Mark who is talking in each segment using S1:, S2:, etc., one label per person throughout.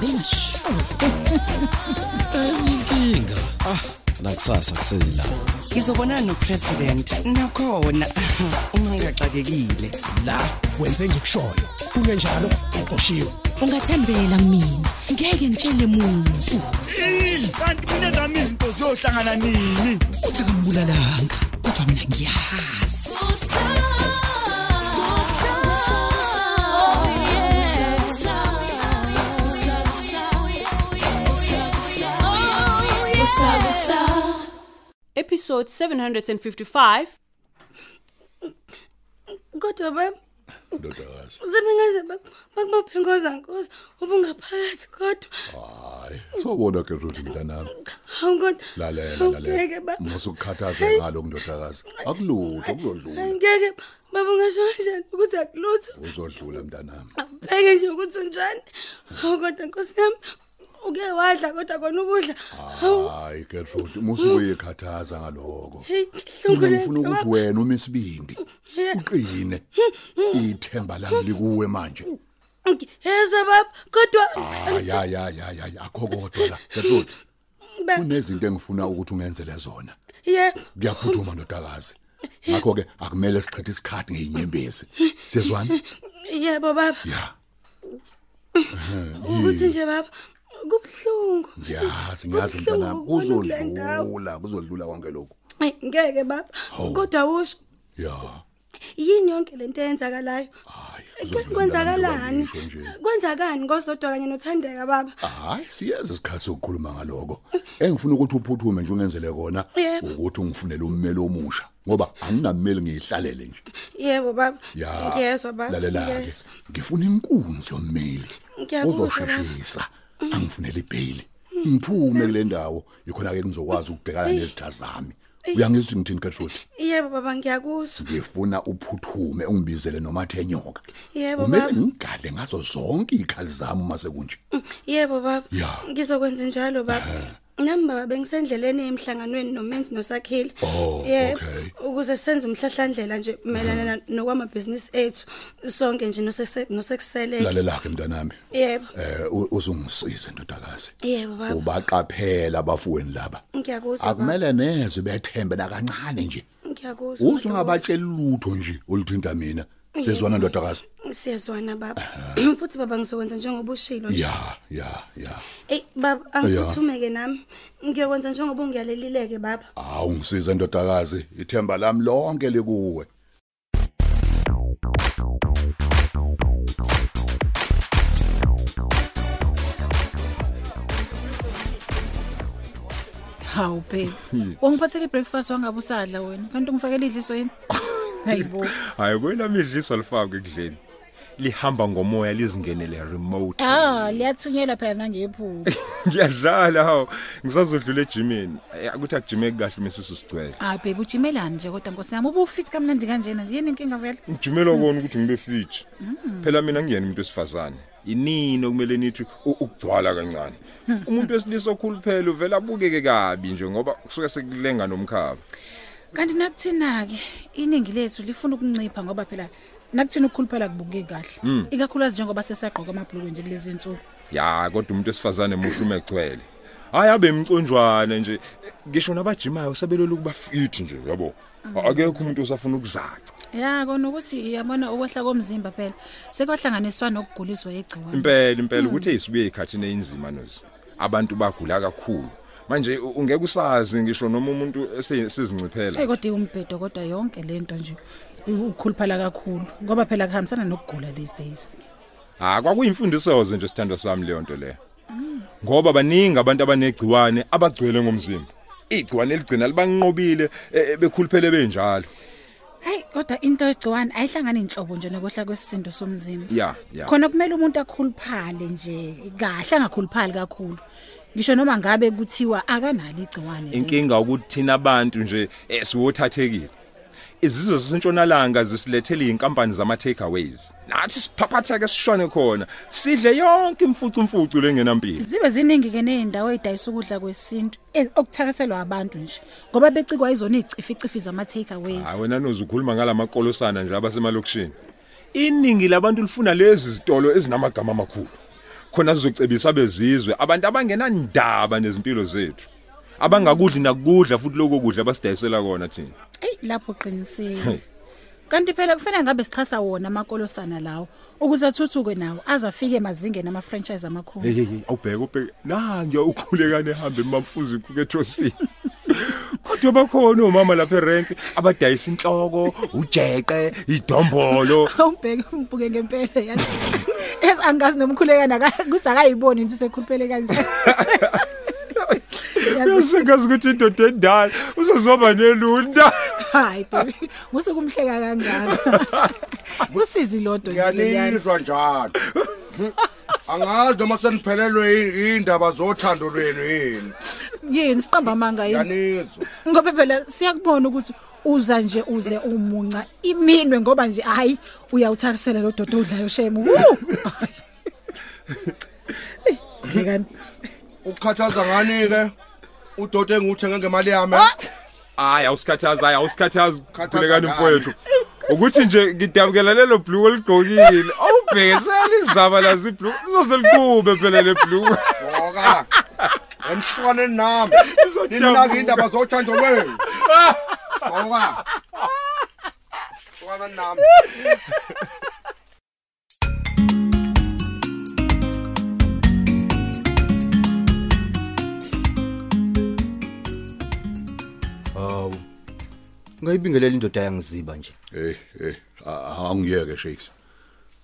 S1: bengashuki
S2: enye inkinga ah nakusasa kusela
S3: ngizobonana nopresident nakhona uma ngingaxakekile
S4: la wenze ngikushoyo kungenjalo uqoshiwe
S1: ungathembela kumina ngeke ngitshele muntu
S5: kanti mina zami izinto ziyohlangana nini
S1: uthi akambulalanga kodwa mina ngiyazi
S6: episode 755
S7: kodwa baba
S8: ndodakazi
S7: sebengaze bakubaphengoza nkosi ubungaphakathi kodwa
S8: hayi sobona ke ruthi mntanami
S7: hawu kodwa
S8: lalela
S7: hawu, ngeke
S8: lalela
S7: ba-
S8: musukukhathaze ngalo ndodakazi akulutho kuzodlula
S7: ngeke baba ungasho kanjani ukuthi akulutho
S8: uzodlula mntanami
S7: ubheke nje ukuthi unjani hawu kodwa nkosi yami uke wadla kodwa kona ukudla hawu
S8: hayi ke ruthi musukuyikhathaza ngaloko
S7: heyi
S8: Mina
S7: hlungu
S8: ngifuna ukuthi wena uma isibindi uqine ithemba lami likuwe manje
S7: yezwa baba kodwa
S8: hayi hayi hayi hayi akho kodwa la ke ruthi
S7: Ba-
S8: kunezinto engifuna ukuthi ungenzele zona
S7: ye
S8: kuyaphuthuma ndodakazi ngakho ke akumele sichithe isikhathi ngeyinyembezi siyezwana
S7: yebo baba
S8: ya
S7: ukuthi nje baba kubuhlungu
S8: ngiyazi ngiyazi
S7: Kubuhlungu
S8: mntanami
S7: ukubona kule ndawo.
S8: kuzodlula kuzodlula konke lokhu
S7: Ayi, ngeke baba
S8: Hawu.
S7: kodwa usho
S8: ya
S7: yini yonke lento eyenzakalayo
S8: hayi kuzodlula mntanami,
S7: kwenzakalani
S8: njengoba ngisho nje.
S7: kwenzakani ngosodwa kanye nothandeka baba
S8: hayi siyazi isikhathi sokukhuluma ngaloko engifuna ukuthi uphuthume nje ungenzele kona
S7: Yebo.
S8: ukuthi ungifunele ummeli omusha ngoba anginameli ngiyihlalele nje
S7: yebo baba
S8: ya
S7: ngiyezwa baba
S8: lalela-ke
S7: ngiyezwa.
S8: ngifuna inkunzi yommeli
S7: Ngiyakuzwa,
S8: ozosheshisa angifunele ibheyili ngiphume kule ndawo yikhona-ke ngizokwazi ukubhekana nezitha zami uyangizwa ngithini katrudi
S7: yebo baba ngiyakuzwa
S8: ngifuna uphuthume ungibizele nomathenyoka
S7: yebo
S8: kumele
S7: baba
S8: ngigale ngazo zonke iy'khali zami uma sekunje
S7: yebo baba
S8: Ya.
S7: ngizokwenza njalo baba nami baba bengisendleleni emhlanganweni nomenzi nosakhile
S8: Oh,
S7: Yebo,
S8: okay.
S7: ukuze senze umhlahlandlela nje mayelana na- nokwamabhizinisi ethu sonke nje nosese- nosekuseleke
S8: lalela-ke mntanami
S7: yebo
S8: eh u- uzungisize ndodakazi
S7: yebo
S8: Oh,
S7: baba
S8: ubaqaphela abafuweni laba
S7: ngiyakuzwa baba
S8: akumele nezwe bethembe nakancane nje
S7: ngiyakuzwa
S8: uze
S7: baba.
S8: ungabatsheli lutho nje oluthinta mina sezwana ndodakazi
S7: siyazwana baba futhi baba ngizokwenza njengoba ushilo nje
S8: ya ya ya
S7: eyi baba angiphuthume-ke nami ngiyokwenza njengoba ungiyalelileke baba
S8: awu ngisize ndodakazi ithemba lami lonke likuwe
S1: hawu babe wangiphathela i-breakfast wangabe usadla wena kanti ungifakele idliso yini hayibo
S9: hayi kwela midliso lifake ekudleni lihamba ngomoya lizingenele remote
S1: ah liyathunyelwa phela nangephupho
S9: ngiyadlala hawo ngisazodlula ejimini Ayi, akuthi akujimeki kahle mesisu sigcwele
S1: hayi Ah, babe ujimelani nje kodwa nkosi yami ubufit kamnandi kanjena nje yini inkinga vele Mm.
S9: ngijimela kona ukuthi ngibe fit phela mina ngiyena umuntu wesifazane inini okumele nithi u- ukugcwala kancane umuntu wesilisa okhuluphele uvela abukeke kabi nje ngoba kusuke sekulenga nomkhaba
S1: kanti nakuthina-ke iningi lethu lifuna ukuncipha ngoba phela nakuthina ukukhuluphela kubukeki kahle ikakhulukazi njengoba sesagqoka amabhulukwe nje kulezi nsuku
S9: ya kodwa umuntu wesifazane muhle uma egcwele hayi abe imconjwana nje ngisho nabajimayo sebelolu kuba fit nje yabo akekho umuntu osafuna ukuzaca
S1: ya kona ukuthi yabona ukwehla komzimba phela sekwahlanganiswa nokuguliswa yegciwane
S9: impela impela ukuthi isibuye ikhathini eyinzima nozi abantu bagula kakhulu manje u- ungeke usazi ngisho noma umuntu esizinciphela
S1: eyi kodwa iwumbhedo kodwa yonke le nto nje ukukhuluphala kakhulu ngoba phela kuhambisana nokugula these days
S9: ha kwakuyimfundisoze nje sithando sami leyo nto leyo ngoba baningi abantu abanegciwane abagcwele ngomzimba igciwane ligcina libanqobile eh, bekhuluphele benjalo
S1: hayi kodwa into yegciwane ayihlangani inhlobo nje nokwehla kwesisindo somzimba
S9: ya ya
S1: khona kumele umuntu akhuluphale nje kahle angakhuluphali kakhulu ngisho noma ngabe kuthiwa akanalo igciwane lelo.
S9: inkinga ukuthi thina abantu nje eh, siwothathekile izizwe zasentshonalanga zisilethele iy'nkampani zama-takeaways nathi siphaphatheke sishone khona sidle yonke imfucumfucu lengenampilo
S1: zibe ziningi-ke ney'ndawo ey'dayisa ukudla kwesintu eh, okuthakaselwa abantu nje ngoba becikwa izona iy'cifici zama-takeaways
S9: hayi wena noze ukhuluma ngala makolosana nje abasemalokishini iningi labantu lifuna lezi zitolo ezinamagama amakhulu khona sizocebisa abezizwe abantu abangenandaba nezimpilo zethu abangakudli nakudla futhi lokho kudla basidayisela kona thina
S1: Ey lapho uqinisile. Kanti phela kufanele ngabe sichasa wona amakolosana lawo ukuze athuthuke nawo aze afike emazingeni ama franchise amakhulu.
S9: hey hey hey, awubheke ubheke nange ukhulekane ehamba emamfuzi kuketrosini kodwa bakhona omama lapha erenki abadayisa inhloko ujeqe idombolo
S1: Awubheke umbuke ngempela yazi. Esi angazi nomkhulekana kusakayiboni nje sekhulupele kanje. Yazi
S9: usengazi ukuthi indoda endala usezoba nelunda
S1: hayi baby. Musukumhleka kangaka. Kusizi lodwa leliyana.
S10: Ngiyalizwa njalo. Angazi noma seniphelelwe indaba zothando lwenu yini.
S1: Yini siqamba amanga yini?
S10: Nganizwa.
S1: Ngoba phela siyakubona ukuthi uza nje uze umunca iminwe ngoba nje hayi uyawutharisela lo dodo odlayo shemu. Ngani?
S10: Ukukhathaza ngani ke? Udoda enguthenga ngemali yami.
S9: hayi awusikhathazi hayi awusikhathazi
S10: Khathaza ngani?
S9: khulekani mfowethu ukuthi nje ngidabukela lelo blue oligqokile awubhekesela izaba lazi blue lizoseliqhube phela le blue
S10: Ngoka. Emshwane nami. Ninaki indaba zothando lwenu. Ngoka. Ngoka nami.
S11: Hawu. Ngayibingelela indoda yangiziba nje.
S8: hey hey a- Eh, awungiyeke shakes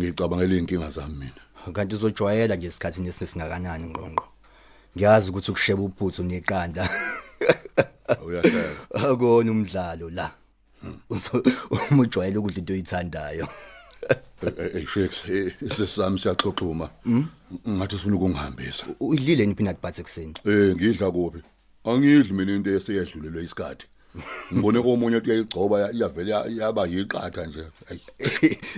S8: ngicabangela inkinga zami mina
S11: Kanti uzojwayela nje isikhathi nesingakanani ngqongqo. Ngiyazi ukuthi ukusheba uphuthu neqanda.
S8: awuyahleka
S11: Akona umdlalo la. Uzo- Uma ujwayela ukudla into oyithandayo.
S8: hey Eh, shakes sesami siyaxoxuma ngathi ufuna ukungihambisa
S11: Udlile ni Hmm? peanut butter ekseni.
S8: eh ngidla kuphi angidli mina into eseyedlulelwe isikhathi ngibone komunye ukuthi uyayigcoba iyavela yaba yiqatha nje Ay,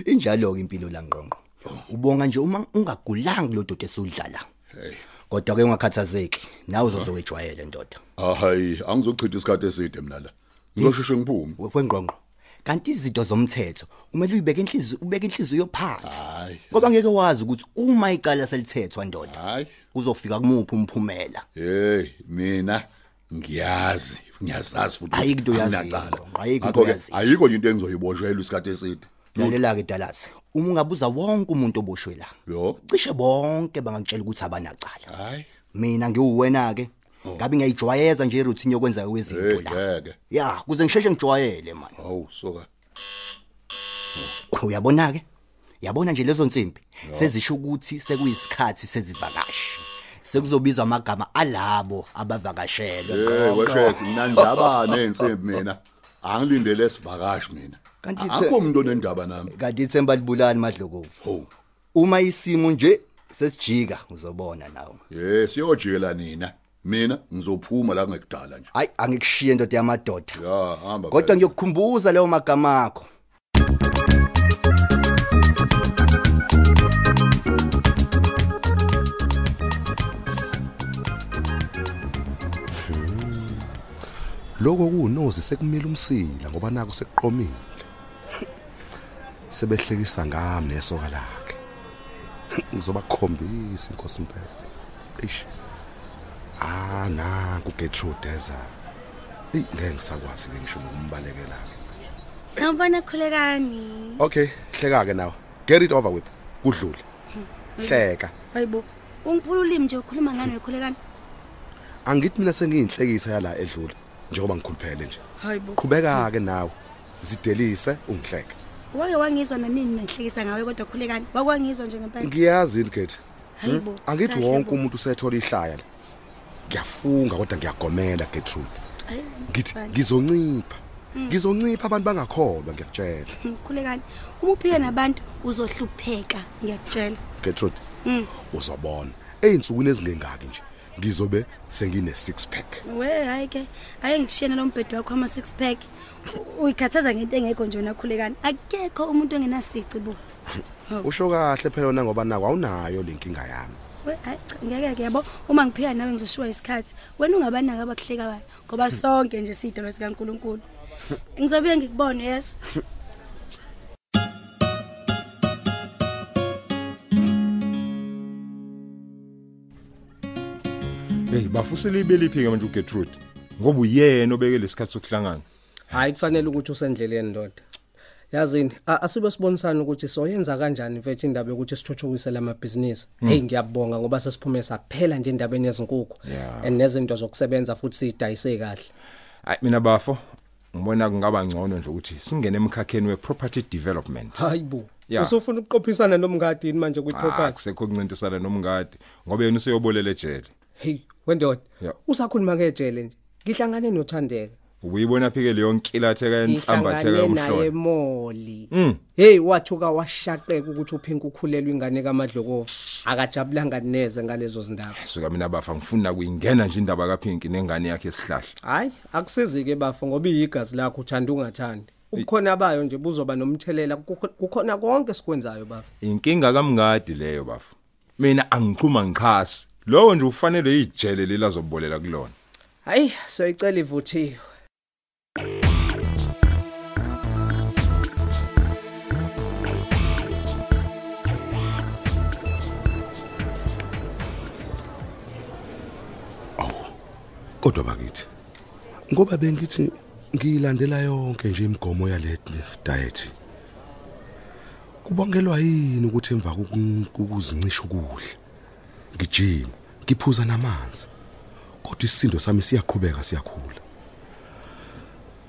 S11: Injalo ke impilo la ngqongqo.
S8: Oh.
S11: Ubonga nje uma ungagulanga lo dodo esudlala.
S8: hey
S11: Kodwa ke ungakhathazeki.
S8: Oh.
S11: Nawe uzozowejwayela indoda.
S8: Ah, hayi angizochitha isikhathi eside mina la ngizosheshe ngiphume
S11: Kwengqongqo. Kanti izinto zomthetho kumele uyibeke inhliziyo ubeke inhliziyo phansi.
S8: Hhayi.
S11: Ngoba ngeke wazi ukuthi uma icala selithethwa ndoda
S8: hayi
S11: kuzofika kumuphi umphumela.
S8: hey mina ngiyazi ngiyazazi futhi
S11: Ayikho into oyaziyo,
S8: anginacala.
S11: Ngqongqo, ayikho into
S8: Ngakho-ke,
S11: oyaziyo.
S8: ayikho nje into engizoyiboshela isikhathi eside
S11: Lalela ke Dallas. Uma ungabuza wonke umuntu oboshwe la.
S8: yo
S11: Cishe bonke bangakutshela ukuthi abanacala.
S8: hayi Oh.
S11: Mina ngiwuwena ke. Ngabe ngiyijwayeza nje iroutine yokwenza
S8: hey
S11: kwezinto la.
S8: ngeke
S11: Ya, kuze ngisheshe ngijwayele man.
S8: hawu soka
S11: Uyabona ke? Yabona nje lezo nsimbi sezisho ukuthi sekuyisikhathi sezivakashi. Sekuzobizwa amagama alabo abavakashelwe.
S8: hey
S11: Ngqongqo.
S8: washeke nandaba nensimbi mina angilindele sivakashi mina
S11: Kanti
S8: A-
S11: ithe-
S8: akho umuntu onendaba nami
S11: Kanti ithemba libulali madlokovu. Uma isimo nje sesijika uzobona nawe.
S8: hey siyojikela nina mina ngizophuma la ngekudala nje
S11: Hayi angikushiye indoda yamadoda.
S8: ya hamba
S11: Kodwa
S8: phela.
S11: ngiyokukhumbuza leyo magama akho.
S4: Hm. Lokho kunozi sekumila umsila ngoba naku sekuqomile. Sebehlekisa ngami nesoka lakhe. Ngizoba khombisa inkosi impela. Eish. Ah na ku Gertrude eza. Hey ngeke ngisakwazi ke ngisho nokumbalekela ke.
S7: Sawubona khulekani.
S4: Okay, hleka ke nawe. Get it over with. Kudlule. Hleka.
S7: Hayibo. Ungiphula ulimi nje ukhuluma ngani wekhulekani?
S4: Angithi mina sengiyinhlekisa yala edlule njengoba ngikhuluphele nje.
S7: Hayibo.
S4: Qhubeka ke nawe. Zidelise ungihleke.
S7: Wake wangizwa nanini nangihlekisa ngawe kodwa khulekani. Wakwangizwa nje ngempela.
S4: Ngiyazi inkethi.
S7: Hayibo.
S4: Angithi
S7: kahle
S4: wonke
S7: bo.
S4: umuntu usethola ihlaya la. Ngiyafunga kodwa ngiyagomela Gertrude.
S7: Hayi,
S4: Ngithi
S7: bandla.
S4: ngizoncipha.
S7: Hmm.
S4: Ngizoncipha abantu bangakholwa ngiyakutshela.
S7: Mm, Khulekani. Uma uphika nabantu uzohlupheka ngiyakutshela. Mm.
S4: Gertrude. Uzobona. Eyinsukwini ezingengaki nje. Ngizobe sengine 6 pack.
S7: We hayi ke hayi ngishiyana lo mbhedo wakho ama six pack. U- Uyikhathaza ngento engekho nje nakhulekani. Akekho umuntu ongenasici bo. Oh.
S4: Usho kahle phela wena ngoba naku awunayo lenkinga yami.
S7: We hayi cha, ngeke ke yabo uma ngiphika nawe ngizoshiwa isikhathi. Wena ungabanaka abakuhlekayo ngoba sonke nje sidolo sikaNkuluNkulu. Hmm. Ngizobuye ngikubone yeso.
S9: hey bafusele ibeliphi-ke manje ugertrude ngoba uyena obeke lesikhathi sokuhlangana
S12: hayi kufanele ukuthi usendleleni ndoda yazini a- asibe sibonisana ukuthi soyenza kanjani mfethu indaba yokuthi sithuthukise lamabhizinisi
S9: Mm.
S12: hey ngiyabonga ngoba sesiphume saphela nje endabeni yezinkukhu
S9: Yeah.
S12: and nezinto zokusebenza futhi sidayise kahle
S9: hayi mina bafo ngibona kungaba ngcono nje ukuthi singene emkhakheni we-property development
S12: hayibo
S9: Yeah.
S12: usufuna ukuqophisana nomngadini manje
S9: Ah,
S12: kwi-property
S9: kusekho kuncintisana nomngadi ngoba yena useyobolela ejele
S12: hey wendoda
S9: ya
S12: usakhuluma kejele nje ngihlangane noThandeka
S9: ubuyibona phike leyo nkilatheka yensambatheka
S12: ngihlangane naye
S9: yomhlolo
S12: emoli
S9: Mm.
S12: hey wathuka washaqeka ukuthi uphenka ukhulelwe ingane kamadloko akajabulanga neze ngalezo zindaba
S9: suka mina bafa ngifuna kuyingena nje indaba kaphinki nengane yakhe esihlahla
S12: hayi akusizi ke bafo ngoba iyigazi lakho uthanda ungathandi ubukhona bayo nje buzoba nomthelela kukho- kukhona konke esikwenzayo bafo
S9: inkinga kamngadi leyo bafa mina angichuma ngichasi lowo nje ufanele ijele lelazobolela kulona
S12: hayi soyicela ivuthiwe
S4: kodwa bakithi ngoba bengithi ngiyilandela yonke nje imigomo yaleti diet kubangelwa yini ukuthi emva kokun- kokuzincisha ukudla ngijima ngiphuza namanzi kodwa isindo sami siyaqhubeka siyakhula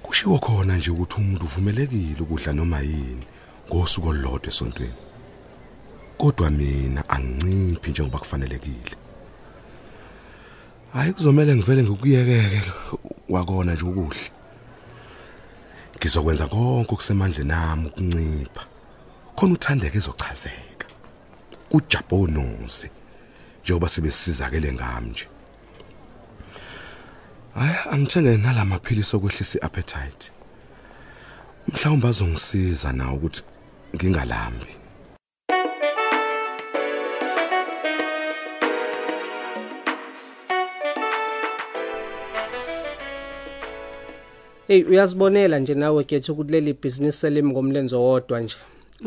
S4: kushiwo khona nje ukuthi umuntu uvumelekile ukudla noma yini ngosuku olulodwa esontweni kodwa mina anginciphi njengoba kufanelekile hayi kuzomele ngivele ngikuyekeke lo- wakona nje ukuhle ngizokwenza konke okusemandleni nami ukuncipha khona uthandeke ezochazeka ujabonozi njengoba sebesizakele ngami nje hayi angithenge nalamaphilisi okwehlisa iappetite mhlawumbe azongisiza nawo ukuthi ngingalambi
S12: hey uyazibonela nje nawe gethu ukuthi leli business selimi ngomlenzo wodwa nje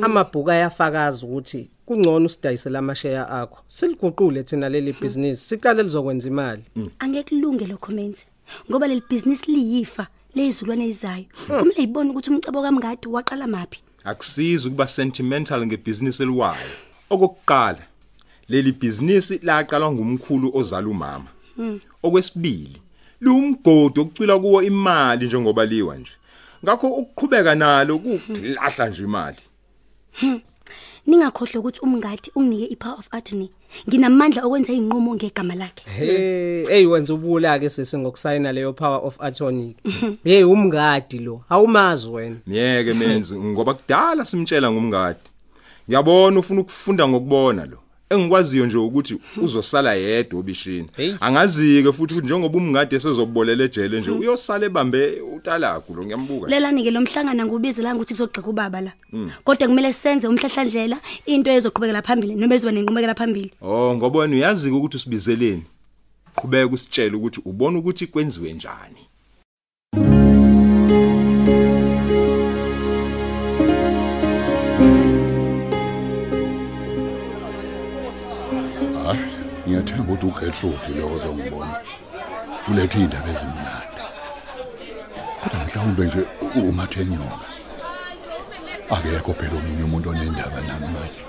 S12: amabhuku ayafakaza ukuthi kungcono usidayisele amasheya akho siliguqule thina leli business siqale lizokwenza imali
S7: angekulunge lo comment ngoba leli business liyifa lezulwane ezayo kumele ibone ukuthi umcebo kamngadi waqala mapi
S9: akusizi ukuba sentimental ngebhizinisi eliwayo okokuqala leli bhizinisi laqalwa ngumkhulu ozala umama okwesibili liwumgodi okucwila kuwo imali njengoba liwa nje ngakho ukuqhubeka nalo kuwukulahla nje imali
S7: Hmm. ningakhohlwa ukuthi umngadi unginike i-power of attorney nginamandla okwenza iy'nqumo ngegama lakhe
S12: hey Eh, hey wenza ubula ke sisi ngokusayina leyo power of attorney hey umngadi lo awumazi wena
S9: Niyeke menzi ngoba kudala simtshela ngomngadi. Ngiyabona ufuna ukufunda ngokubona lo. Engikwaziyo nje ukuthi uzosala yedwa obishini. Angazike futhi ukuthi njengoba umngadi esezobolela ejele nje uyosala ebambe utalagu lo ngiyambuka.
S7: lelani-ke lo mhlangano angiwubizelanga ukuthi kuzogxeka ubaba la
S9: Mm.
S7: kodwa kumele senze umhlahlandlela into ezoqhubekela phambili noma ezoba nenqubekela phambili
S9: Oh ngoba wena uyazi ukuthi usibizeleni. Qhubeka usitshele ukuthi ubona ukuthi kwenziwe njani.
S8: hayi ngiyathemba ukuthi ugertrude lo ozongibona ulethe iy'ndaba ezimnandi kodwa mhlawumbe nje umathenyoka akekho phela omunye umuntu onendaba nami manje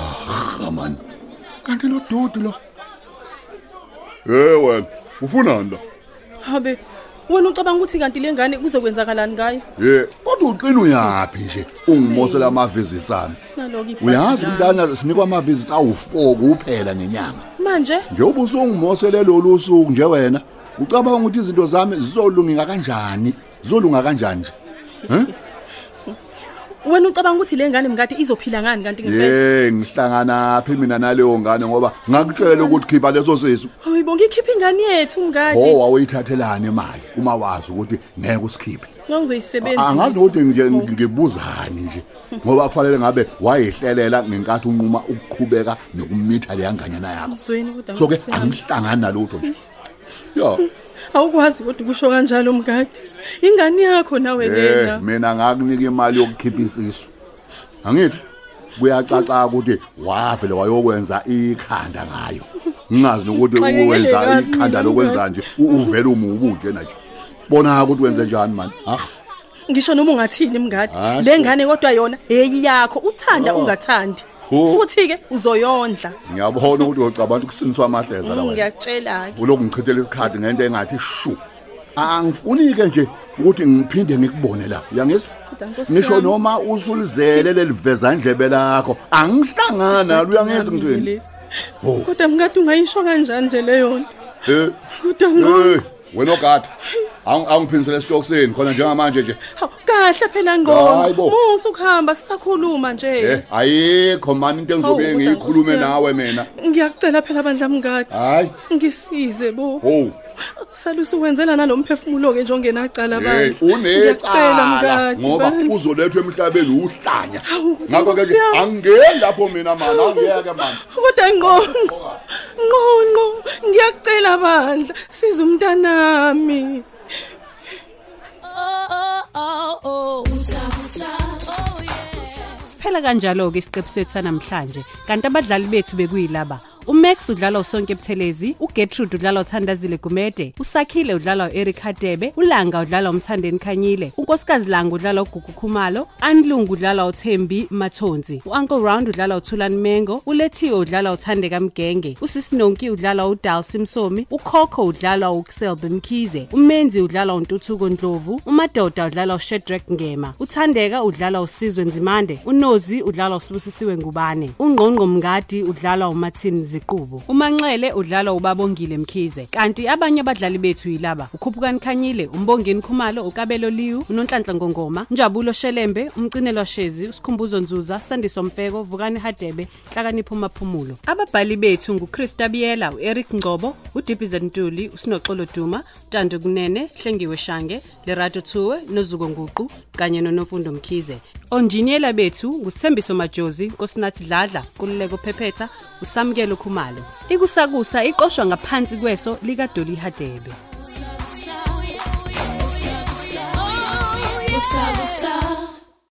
S8: aha mani kanti lo dudu lo ye wena ufunani la
S13: habe wena ucabanga ukuthi kanti le ngane kuzokwenzakalani ngayo
S8: ye kodwa uqina uyaphi nje ungimosela ama-visits ami
S13: naloku ibhadi
S8: uyazi
S13: lami.
S8: ukuthi lana sinikwa ama-visits awu-four kuphela nenyanga
S13: manje
S8: njengoba usungimosele lolu suku nje wena ucabanga ukuthi izinto zami zizolungeka kanjani zizolunga kanjani nje Eh?
S13: wena ucabanga ukuthi le ngane mngadi izophila ngani kanti ngempela
S8: ye ngihlangana phi mina naleyo ngane ngoba ngakutshela ukuthi khipha leso sisu
S13: hayi bo ngikhipha ingane yethu
S8: ho
S13: mngadi
S8: wawuyithathelani imali uma wazi ukuthi ngeke usikhiphe angazi
S13: ngangizoyisebenzisa
S8: ukuthi nje ngibuzani nje ngoba kufanele ngabe wayihlelela ngenkathi unquma ukuqhubeka nokumitha leyanganyana yakho
S13: ngizweni kodwa
S8: so-ke
S13: angikusami.
S8: angihlangani nalutho nje ya
S13: awukwazi kodwa ukusho kanjalo mngadi ingane yakho nawe
S8: Eh,
S13: lena
S8: mina ngakunika imali yokukhipha isisu angithi buyacaca ukuthi wavele wayokwenza ikhanda ngayo ngingazi nokuthi
S13: Sixakekele
S8: uwenza
S13: kabi mina
S8: ikhanda lokwenza nje u- uvele umubu nje nje bona ukuthi wenze njani mani ah
S13: ngisho noma ungathini mngadi
S8: Hayi.
S13: le ngane kodwa yona heyi yakho uthanda
S8: Oh.
S13: ungathandi
S8: Oh.
S13: futhi-ke uzoyondla
S8: ngiyabona ukuthi uyocabanga ukusiniswa amahleza
S13: Mm,
S8: lawa
S13: ngiyakutshela-ke
S8: uloku ngichithela isikhathi ngento engathi shu angifuni ke nje ukuthi ngiphinde ngikubone la uyangizwa
S13: Kodwa Nkosi
S8: ngisho
S13: yami,
S8: noma usulizele leliveza ndlebe lakho angihlangana nalo uyangizi ngithini
S13: ngileli.
S8: ho
S13: kodwa mngadi ungayisho kanjani nje leyona
S8: eh
S13: kodwa ngo
S8: Eh, wena ogada Ang- angiphinisele esitokiseni khona njengamanje nje
S13: Hawu, kahle phela
S8: Hayi
S13: ngqondo
S8: bo.
S13: musa ukuhamba sisakhuluma
S8: eh
S13: nje
S8: ayikho mani into engizobe
S13: Hawu, kodwa
S8: ngiyikhulume
S13: Nkosi yami.
S8: nawe mina
S13: ngiyakucela phela bandla mngadi
S8: hayi
S13: ngisize bo
S8: ho
S13: salusi uwenzela nalo mphefumulo-ke nje ongenacala
S8: Eh,
S13: bandla
S8: unecala ngoba
S13: bandla
S8: uzolethwa emhlabeni uhlanya
S13: Hawu, kodwa
S8: ngakho ke
S13: Nkosi yami.
S8: angeni lapho mina mani angiyeke mani
S13: kodwa ngqonqo ngqonqo ngiyakucela bandla siza umntanami
S6: Siphela kanjalo ke isiqephu sethu sanamhlanje. Kanti abadlali bethu bekuyilaba. uMax udlalwa uSonke Buthelezi, uGertrude udlalwa uThandazile Gumede, uSakhile udlalwa uEric Hadebe, uLanga udlalwa uMthandeni Khanyile, uNkosikazi Langa udlalwa uGugu Khumalo, Anlungu udlalwa uThembi Mathonzi, uUncle Round udlalwa uThulani Mengo, uLethiwe udlalwa uThandeka Mgenge, uSisinonki udlalwa uDalsi Msomi, uKhokho udlalwa uKselbe Mkhize, uMenzi udlalwa uNtuthuko Ndlovu, uMadoda udlalwa uShedrack Ngema, uThandeka udlalwa uSizwe Nzimande, uNozi udlalwa uSibusisiwe Ngubane, uNgqongqo Mngadi udlalwa uMathini Ziqubo, uManxele udlalwa uBabongile Mkhize. Kanti abanye abadlali bethu yilaba: uKhuphukani Khanyile, uMbongeni Khumalo, uKabelo Liwu, uNonhlanhla Ngongoma, Njabulo Shelembe, uMcinelwa Shezi, uSkhumbuzo Nzuza, Sandiso Mfeko, Vukani Hadebe, Hlakanipho Maphumulo. Ababhali bethu nguChrista Biyela, uEric Ngcobo, uDiphize Ntuli, uSinoxolo Duma, Tando Kunene, Hlengiwe Shange, Lerato Thuwe, noZuko Nguqu kanye noNofundo Mkhize. Onjiniyela bethu nguSthembiso Majozi, Nkosinathi Dladla, Kululeko Phephetha, uSamukelo Khumalo. Ikusakusa iqoshwa ngaphansi kweso likaDoli Hadebe.